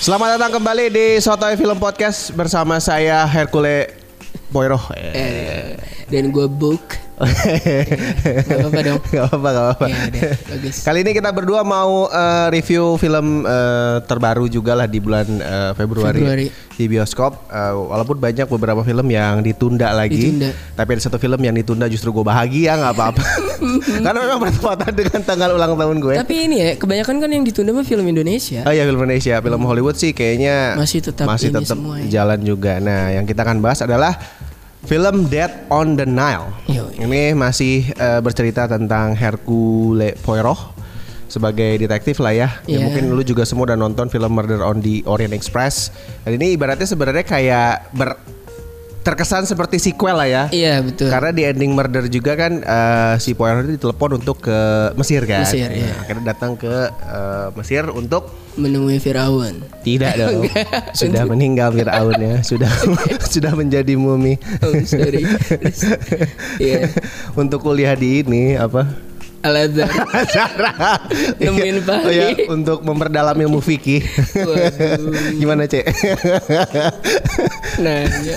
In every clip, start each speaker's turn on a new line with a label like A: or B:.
A: Selamat datang kembali di Sotoy Film Podcast bersama saya Hercule Boyro.
B: Eh, dan gue book
A: Gak
B: apa-apa dong.
A: Gak apa-apa, gak apa-apa.
B: Ya udah, bagus.
A: Kali ini kita berdua mau eh, review film eh, terbaru juga lah di bulan eh, Februari,
B: Februari.
A: di bioskop. Eh, walaupun banyak beberapa film yang ditunda lagi,
B: Ditunda.
A: tapi ada satu film yang ditunda justru gue bahagia nggak apa-apa. Karena memang bertepatan dengan tanggal ulang tahun gue.
B: tapi ini ya kebanyakan kan yang ditunda mah film Indonesia
A: Oh iya film Indonesia, film Hollywood sih kayaknya
B: Masih tetap
A: masih
B: ini
A: tetap
B: semua ya.
A: jalan juga. Nah, yang kita akan bahas adalah film Dead on the Nile.
B: Yoi.
A: Ini masih eh, bercerita tentang Hercule Poirot sebagai detektif lah ya. Ya
B: Iya.
A: mungkin lu juga semua udah nonton film Murder on the Orient Express. Dan ini ibaratnya sebenarnya kayak ber terkesan seperti sequel lah ya.
B: iya betul
A: Karena di ending murder juga kan eh, si Poirot itu ditelepon untuk ke Mesir kan.
B: Mesir, iya.
A: Nah, Akhirnya datang ke eh, Mesir untuk
B: menemui Firaun
A: tidak dong. sudah meninggal Firaun ya, sudah sudah menjadi mumi.
B: oh sorry Terus, iya
A: untuk kuliah di ini apa?
B: Al-Azhar
A: Acara.
B: Nemuin Fahri.
A: Oh ya, untuk memperdalam ilmu fikih.
B: Waduh.
A: Gimana, Cek?
B: nah iya.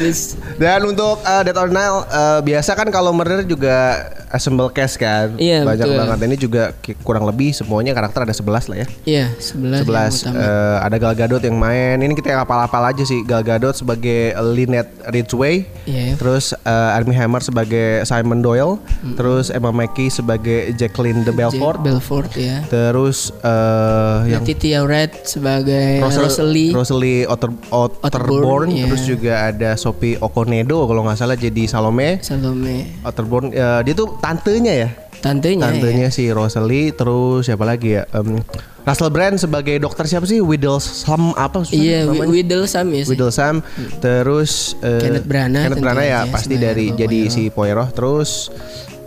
B: terus
A: Dan untuk uh, Dead or Nile uh, biasa kan kalau murder juga assemble cast kan.
B: Iya,
A: Banyak
B: betul.
A: banget ini juga ki- kurang lebih semuanya karakter ada 11 lah ya.
B: ya sebelas
A: 11 eh, ada Gal Gadot yang main. Ini kita yang apal-apal aja sih Gal Gadot sebagai Lynette Ridgway,
B: Iya.
A: terus eh, Armie Hammer sebagai Simon Doyle, terus Emma Mackey sebagai Jacqueline de
B: Belfort
A: Belfort,
B: Belfort ya
A: terus eh, yang
B: Titi Red sebagai
A: Rosal-
B: Eh, Rosalie
A: Rosalie Otter, Ot- Otterborn,
B: Otterborn, iya.
A: terus juga ada Sophie Okonedo kalau nggak salah jadi Salome.
B: Salome
A: Otterborn eh, dia tuh tantenya ya.
B: tantenya
A: Tantenya si Rosalie terus siapa lagi ya? Em, Russell Brand sebagai dokter siapa sih? Widdle Slum apa
B: ya. iya
A: namanya?
B: Wi- Widdle Sam ya sih
A: Widdle Sam terus eh,
B: Kenneth Branagh
A: Kenneth Branagh ya
B: tentunya ya,
A: pasti
B: sebagai
A: dari
B: Bapak
A: jadi
B: Poirot.
A: si Poirot terus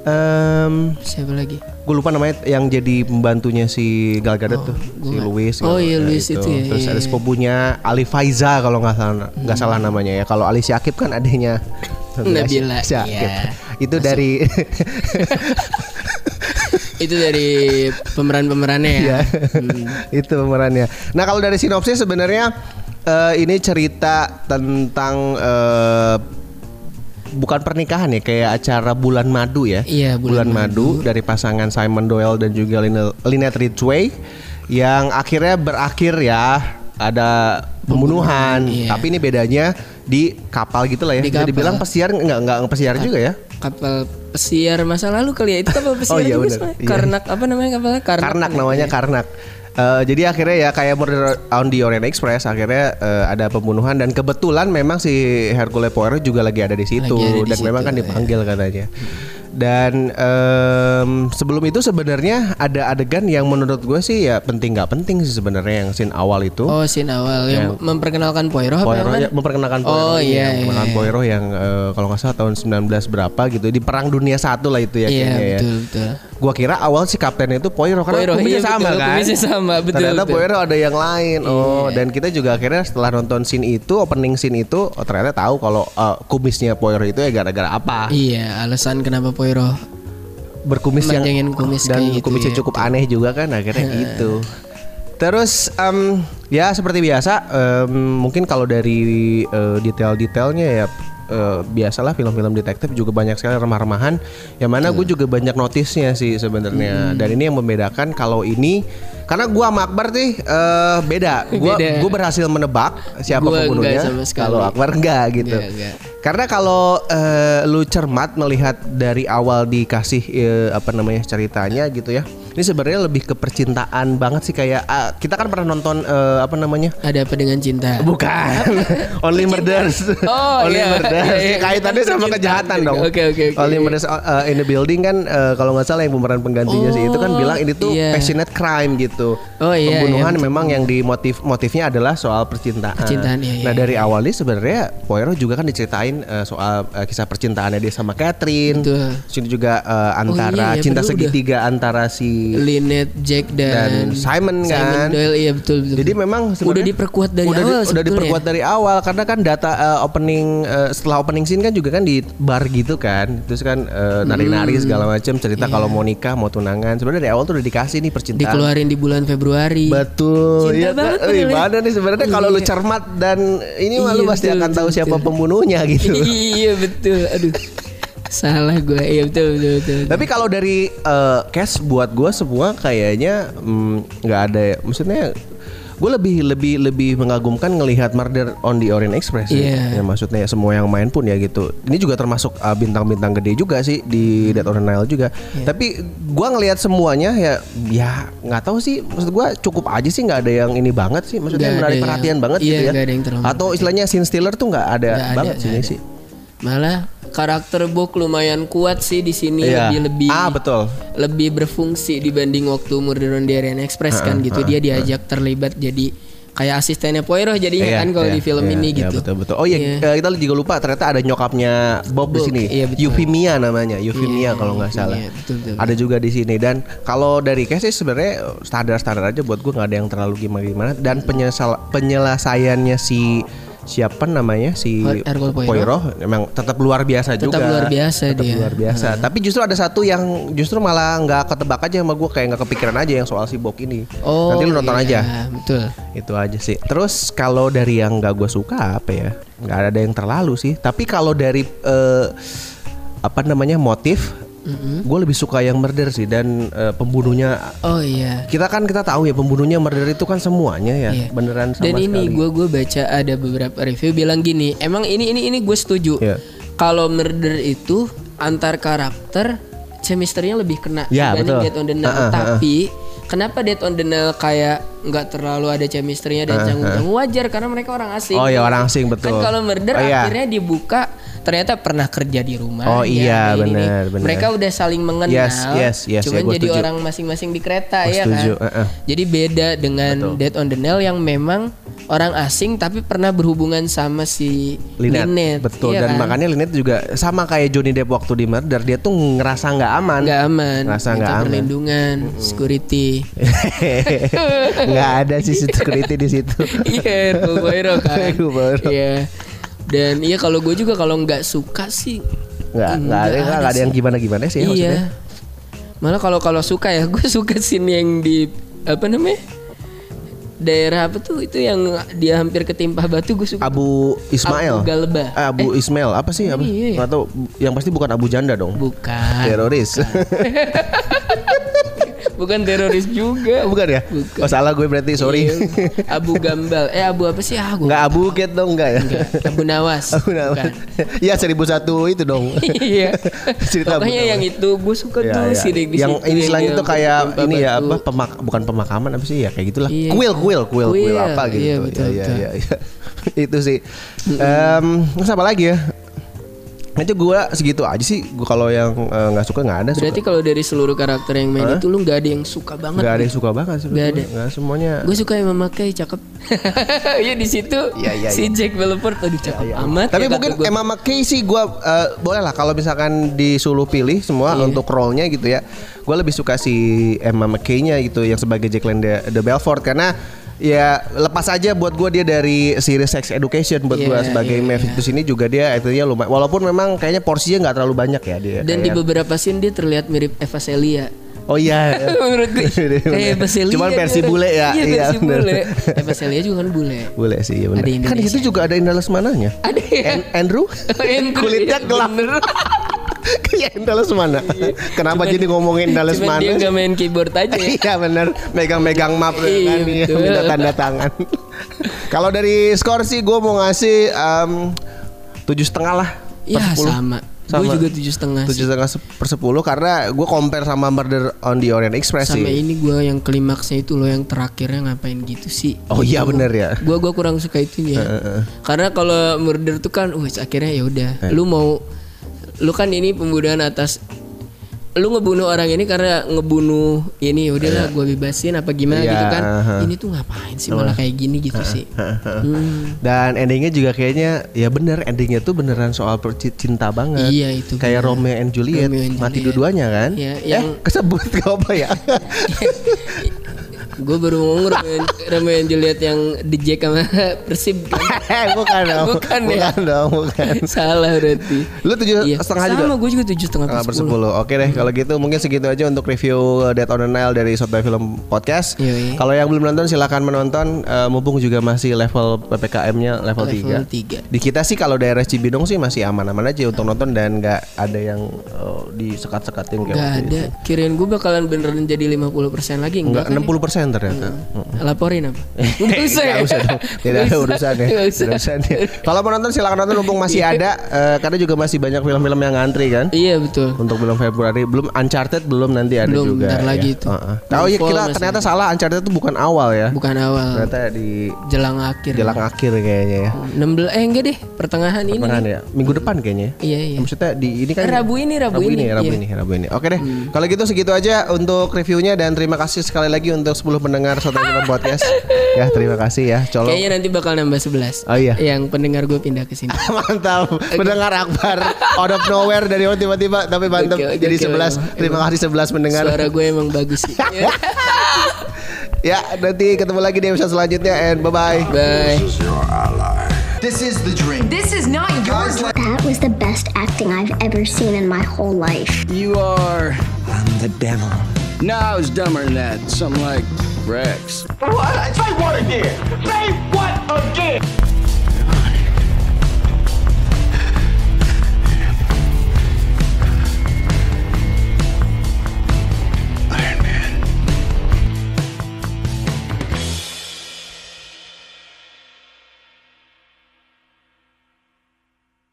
A: em
B: siapa lagi
A: gue lupa namanya yang jadi pembantunya si Gal Gadot tuh
B: gua
A: si
B: nggak-
A: Louis
B: Oh
A: Gal
B: iya,
A: Gadot
B: Louis itu ya,
A: terus
B: iya,
A: ada
B: iya.
A: sepupunya Ali Faiza kalau nggak salah nggak salah namanya ya kalau Ali Syakib kan adiknya
B: Nabila,
A: Syakib
B: iya.
A: itu dari
B: itu dari pemeran-pemerannya ya
A: ya
B: Hmm.
A: itu pemerannya nah kalau dari sinopsis sebenarnya eh, ini cerita tentang eh, bukan pernikahan ya kayak acara bulan madu ya
B: Iya, bulan
A: madu. dari pasangan Simon Doyle dan juga Lin- Lynette Ridgway yang akhirnya berakhir ya ada pembunuhan,
B: Pembunuhan, iya.
A: tapi ini bedanya di kapal gitu lah ya
B: Di
A: bisa
B: kapal.
A: dibilang pesiar nggak nggak pesiar juga ya
B: kapal pesiar masa lalu kali ya itu kapal pesiar
A: iya,
B: juga
A: benar.
B: sebenarnya.
A: Iya.
B: Karnak apa namanya kapalnya Karnak,
A: Karnak namanya Karnak. Eh, jadi akhirnya ya kayak Murder on the Orient Express akhirnya eh, ada pembunuhan dan kebetulan memang si Hercule Poirot juga lagi ada di situ
B: Lagi ada di
A: dan
B: situ,
A: memang kan
B: ya.
A: dipanggil katanya. Dan em, sebelum itu sebenarnya ada adegan yang menurut gue sih ya penting nggak penting sih sebenarnya yang scene awal itu.
B: oh sin awal yang memperkenalkan Poirot apa
A: Iya. Poirot
B: namanya?
A: ya, memperkenalkan Poirot
B: oh
A: ini,
B: iya,
A: yang
B: iya.
A: memperkenalkan Poirot yang eh, kalau nggak salah tahun 19 berapa gitu di Perang Dunia Satu lah itu ya
B: Iya,
A: kayaknya ya.
B: betul, betul.
A: Gua kira awal si kaptennya itu Poirot karena
B: Poirot,
A: kumisnya
B: iya,
A: sama
B: betul,
A: kan.
B: kumisnya sama, betul,
A: Ternyata
B: betul. Iya.
A: Poirot ada yang lain. Oh, dan kita juga akhirnya setelah nonton scene itu, opening scene itu, oh, ternyata tahu kalau eh, kumisnya Poirot itu ya gara-gara apa?
B: Iya, alasan kenapa Poirot
A: berkumis yang
B: Manjangin kumis
A: dan
B: kayak gitu
A: kumisnya
B: ya,
A: cukup aneh juga kan akhirnya gitu. Terus em, ya seperti biasa em, mungkin kalau dari eh, detail-detailnya ya eh, biasalah film-film detektif juga banyak sekali remah-remahan. Yang mana
B: Iya.
A: gue juga banyak notisnya sih sebenarnya.
B: Hmm.
A: Dan ini yang membedakan kalau ini karena gua sama Akbar nih eh, beda. Gua
B: Beda.
A: gua berhasil menebak siapa
B: Gua enggak
A: pembunuhnya.
B: sama sekali.
A: Kalau Akbar enggak gitu.
B: Enggak, enggak.
A: Karena kalau eh, lu cermat melihat dari awal dikasih eh, apa namanya ceritanya gitu ya. Ini sebenarnya lebih ke percintaan banget sih kayak ah, kita kan pernah nonton eh, apa namanya?
B: Ada apa dengan cinta?
A: Bukan. Only Murders.
B: kan? Oh,
A: Only
B: iya.
A: Murders.
B: Iya, iya.
A: Kaitannya sama kejahatan dong.
B: Oke, oke, oke. iya,
A: Only Murders uh, in the building kan uh, kalau nggak salah yang pemeran penggantinya sih itu kan
B: Oh,
A: bilang ini tuh
B: iya.
A: passionate crime gitu.
B: Oh, iya,
A: Pembunuhan
B: iya,
A: memang yang di motif motifnya adalah soal percintaan.
B: Percintaan, iya, iya,
A: Nah, dari awalnya sebenarnya Poirot juga kan diceritain uh, soal uh, kisah percintaannya dia sama Catherine.
B: Betul.
A: Sini juga uh,
B: iya,
A: antara
B: iya,
A: cinta
B: bener, udah.
A: segitiga antara si
B: Lynette, Jack
A: Dan
B: dan,
A: Simon, kan?
B: Doyle iya betul betul.
A: Jadi memang
B: udah
A: sebenarnya-
B: diperkuat dari
A: udah di-
B: awal
A: udah
B: sebetulnya.
A: diperkuat dari awal karena kan data eh, opening eh, setelah opening scene kan juga kan di bar gitu kan. Terus kan eh, nari-nari
B: Hmm.
A: segala macam
B: Iya.
A: cerita kalau mau nikah, mau tunangan. Sebenarnya dari awal tuh udah dikasih nih percintaan.
B: dikeluarin di bulan Februari.
A: Betul.
B: Cinta
A: Iya,
B: banget
A: eh,
B: padahal ya.
A: mana nih sebenarnya kalau lu cermat dan ini malu
B: Iya,
A: pasti
B: betul,
A: akan tahu
B: betul,
A: siapa
B: betul.
A: pembunuhnya gitu.
B: iya betul. Aduh. Salah gue. Iya betul betul betul. betul.
A: Tapi kalau dari eh, cash buat gue semua kayaknya mm, nggak ada ya. Maksudnya gue lebih lebih lebih mengagumkan ngelihat Murder on the Orient Express sih.
B: Iya.
A: ya. maksudnya ya semua yang main pun ya gitu. Ini juga termasuk eh, bintang-bintang gede juga sih di Dead or Nile juga.
B: Iya.
A: Tapi gue ngelihat semuanya ya ya nggak tahu sih. Maksud gue cukup aja sih nggak ada yang ini banget sih. Maksudnya
B: Nggak
A: menarik
B: ada yang-
A: perhatian banget
B: iya,
A: gitu ya.
B: nggak ada yang terlalu
A: Atau istilahnya scene stealer tuh nggak ada
B: Nggak ada,
A: banget sih
B: nggak
A: ini
B: ada.
A: sih.
B: Malah karakter Book lumayan kuat sih di sini
A: Iya.
B: lebih lebih
A: Ah, betul.
B: lebih berfungsi dibanding waktu Murder on the Orient Express
A: Ah,
B: kan gitu dia diajak terlibat jadi kayak asistennya Poirot jadinya
A: Iya,
B: kan kalau
A: iya,
B: di film
A: iya,
B: ini
A: iya,
B: gitu.
A: betul betul. Oh iya,
B: Iya.
A: eh, kita juga lupa ternyata ada nyokapnya Bob di
B: Bob,
A: sini.
B: iya, betul.
A: Euphemia namanya, Euphemia
B: Iya,
A: kalau nggak salah.
B: Euphemia, betul, betul.
A: Ada juga di sini dan kalau dari case sih sebenarnya standar-standar aja buat gue nggak ada yang terlalu gimana-gimana dan penyesal penyelesaiannya si siapa namanya si
B: Her- Hercule Poirot.
A: memang tetap luar biasa juga.
B: Tetap luar biasa
A: Tetap
B: dia.
A: luar biasa. Tapi justru ada satu yang justru malah nggak ketebak aja sama gue kayak nggak kepikiran aja yang soal si Bob ini.
B: Oh.
A: Nanti lu nonton
B: iya,
A: aja.
B: Betul.
A: Itu aja sih. Terus kalau dari yang gak gue suka apa ya? Gak ada yang terlalu sih. Tapi kalau dari eh, apa namanya motif, gue lebih suka yang murder sih dan eh, pembunuhnya.
B: Oh iya.
A: Kita kan kita tahu ya pembunuhnya murder itu kan semuanya ya,
B: Iya.
A: beneran sama
B: Dan ini
A: sekali.
B: gue gue baca ada beberapa review bilang gini, emang ini ini ini gue setuju.
A: Iya.
B: Kalau murder itu antar karakter chemistry-nya lebih kena
A: Ya, betul.
B: Dead on the
A: Ah,
B: Nile.
A: ah, ah, ah.
B: Tapi kenapa Dead on the Nile kayak nggak terlalu ada chemistry-nya dan canggung-canggung wajar karena mereka orang asing.
A: Oh, iya, orang asing, betul.
B: Kan kalau murder
A: Oh, iya.
B: akhirnya dibuka ternyata pernah kerja di rumah.
A: Oh, iya,
B: kayak gini.
A: benar, benar.
B: Mereka udah saling mengenal.
A: Yes, yes, yes,
B: cuman
A: ya, gua
B: jadi
A: setuju.
B: orang masing-masing di kereta
A: Gua
B: ya
A: setuju,
B: kan.
A: eh, eh.
B: Jadi beda dengan Dead on the Nile yang memang orang asing tapi pernah berhubungan sama si
A: Linet.
B: Linet.
A: betul
B: iya
A: dan
B: kan?
A: makanya Linet juga sama kayak Johnny Depp waktu di murder dia tuh ngerasa nggak aman.
B: nggak aman,
A: Rasa
B: minta
A: nggak aman.
B: perlindungan, security.
A: nggak ada sih security di situ.
B: Iya, Hercule Poirot kan.
A: Hercule Poirot.
B: Iya. Dan iya kalau gue juga kalau nggak suka sih
A: Nggak nggak ada
B: Nggak ada
A: nggak ada yang
B: sih.
A: gimana gimana sih ya,
B: iya.
A: maksudnya.
B: Malah kalau kalau suka ya gue suka scene yang di apa namanya? Daerah apa tuh itu yang dia hampir ketimpah batu gue suka.
A: Abu Ismail.
B: Abu Galba.
A: Eh, Abu Ismail apa sih? Apa?
B: Iya, iya.
A: Nggak tahu. Yang pasti bukan Abu Janda dong.
B: Bukan.
A: Teroris.
B: Bukan teroris juga.
A: bukan ya?
B: Bukan.
A: Oh salah gue berarti sorry.
B: Iya. Abu Gambal. Eh Abu apa sih? Ah, gua
A: Nggak Abu Ket dong enggak ya?
B: Abu Nawas.
A: Abu nama.
B: Bukan.
A: Ya 1001 itu dong.
B: iya.
A: Cerita Abu
B: Pokoknya
A: Nawas.
B: yang itu gue suka
A: Ya,
B: tuh
A: ya.
B: sih di
A: yang
B: situ
A: ini selain
B: dia
A: itu kayak
B: tempat
A: ini ya
B: batu.
A: apa pemak bukan pemakaman apa sih ya kayak gitulah
B: Iya.
A: kuil kuil kuil kuil
B: Kuil,
A: apa gitu
B: iya,
A: ya,
B: betul, betul.
A: ya, ya, ya. itu sih Em, terus apa lagi ya itu gua segitu aja sih gua kalau yang eh, nggak suka nggak ada suka.
B: Berarti kalau dari seluruh karakter yang main itu lu nggak ada yang suka banget.
A: nggak ada yang suka banget sih
B: Nggak ada.
A: nggak semuanya
B: Gue suka yang memakai cakep. Iya di situ
A: Iya, iya,
B: si Jack Belfort aduh cakep amat.
A: Tapi
B: ya,
A: mungkin
B: kata gua.
A: Emma McKay sih gue boleh lah kalau misalkan disuruh pilih semua
B: Iya.
A: untuk role-nya gitu ya. Gue lebih suka si Emma McKay-nya gitu yang sebagai Jacqueline de, de Belfort karena ya lepas aja buat gue dia dari series Sex Education buat
B: Iya,
A: gue sebagai
B: iya,
A: Mavis di sini juga dia akhirnya lumayan walaupun memang kayaknya porsinya nggak terlalu banyak ya dia.
B: dan di
A: kayak-
B: beberapa scene dia terlihat mirip Eva Celia.
A: Oh iya.
B: Menurut gue kayak Eva Celia.
A: Cuman
B: dia
A: versi
B: orang.
A: bule ya.
B: Iya versi
A: bener.
B: bule. Eva Celia juga kan bule.
A: Boleh sih ya benar.
B: Ada
A: Kan di situ
B: Indonesia.
A: juga ada Indah Lesmananya.
B: Ada ya?
A: An- Andrew?
B: Andrew,
A: Kulitnya
B: iya,
A: gelap.
B: bener.
A: Kayak Indah Lesmana. Iya, Kenapa
B: Cuman-
A: jadi ngomongin Indah
B: Cuman dia nggak
A: Lesmana?
B: main keyboard aja ya.
A: Iya benar, megang-megang map kan
B: Iya,
A: iya,
B: betul.
A: minta tanda tangan. Kalau dari skor sih gue mau ngasih em, tujuh setengah lah. per
B: Ya
A: 10.
B: sama. Gue juga tujuh setengah. sih.
A: tujuh setengah se- per sepuluh karena gue compare sama Murder on the Orient Express
B: Sama
A: sih.
B: ini gue yang klimaksnya itu loh yang terakhirnya ngapain gitu sih?
A: Oh iya,
B: Gua-
A: bener ya.
B: Gua gua kurang suka itu ya. Karena kalau murder tuh kan, wes akhirnya ya udah.
A: Eh.
B: Lu mau, lu kan ini pembunuhan atas, lu ngebunuh orang ini karena ngebunuh ini ya udahlah gue bebasin apa gimana
A: Eh. Iya,
B: gitu kan?
A: heeh.
B: Ini tuh ngapain sih malah kayak gini gitu sih? Hmm.
A: Dan endingnya juga kayaknya ya bener endingnya tuh beneran soal perci- cinta banget.
B: Iya, itu
A: Kayak
B: bener.
A: Romeo and Juliet,
B: Romeo and
A: mati
B: Juliet.
A: dua-duanya kan?
B: Iya,
A: Eh
B: yang-
A: kesebut gak apa ya?
B: Gue baru mau ngomong Romeo and- Romeo and Juliet yang The Jack sama Persib kan?
A: Eh, bukan dong.
B: Bukan ya?
A: bukan dong, bukan.
B: Salah berarti. Iya.
A: Lu tujuh setengah juga? Ah,
B: Sama gue juga tujuh setengah
A: Setengah
B: per
A: per
B: sepuluh.
A: 10 Oke deh kalau gitu mungkin segitu aja untuk review uh, Dead on the Nile dari Sotoy Film Podcast
B: Yoi.
A: Kalau yang belum nonton silahkan menonton Eh, Mumpung juga masih level PPKM-nya level,
B: Level
A: 3.
B: tiga.
A: Di kita sih kalau daerah Cibinong sih masih aman-aman aja untuk nonton Dan nggak ada yang eh, disekat-sekatin kayak
B: Gak
A: waktu
B: ada.
A: itu.
B: Kirain gue bakalan beneran jadi 50% lagi
A: Nggak
B: enggak? kan,
A: 60% ternyata
B: ya? Laporin apa? Enggak usah. ya?
A: Nggak usah dong. Tidak ada
B: Nggak usah, Iya.
A: urusannya.
B: nggak
A: Tidak
B: usah.
A: ada urusannya. Kalau mau nonton silahkan nonton mumpung masih ada eh, Karena juga masih banyak film-film yang ngantri kan
B: Iya betul.
A: untuk belum Februari belum Uncharted belum nanti ada
B: Belum,
A: juga
B: bentar lagi itu.
A: Heeh. tahu ya
B: Fall
A: kita
B: masih
A: ternyata
B: ada.
A: salah Uncharted itu bukan awal ya
B: Bukan awal.
A: ternyata di
B: Jelang akhir.
A: jelang akhir kayaknya ya
B: 16 eh enggak deh, pertengahan,
A: Pertengahan
B: ini.
A: ya minggu depan kayaknya ya.
B: Iya iya.
A: maksudnya di ini kan
B: Rabu ini, Rabu ini,
A: Rabu
B: iya. Hmm.
A: ini Rabu ini oke deh kalau gitu segitu aja untuk reviewnya dan terima kasih sekali lagi untuk 10 pendengar Soto Film Podcast ya terima kasih ya colong
B: Kayaknya nanti bakal nambah 11.
A: Oh, iya.
B: Yang pendengar gue pindah ke sini.
A: Mantap, pendengar akbar out of nowhere dari mana tiba-tiba tapi mantap
B: Gokil,
A: jadi 11.
B: gokil, emang.
A: Terima kasih 11 pendengar.
B: Suara gue emang bagus sih. Iya.
A: Ya, nanti ketemu lagi di episode selanjutnya and bye-bye.
B: Bye.
C: This is your ally.
D: This is the dream.
E: This is not your dream.
F: That was the best acting I've ever seen in my whole life.
G: You are.
D: I'm the devil.
G: No, I was dumber than that. Something like Rex.
H: What? Say what again? Say what again?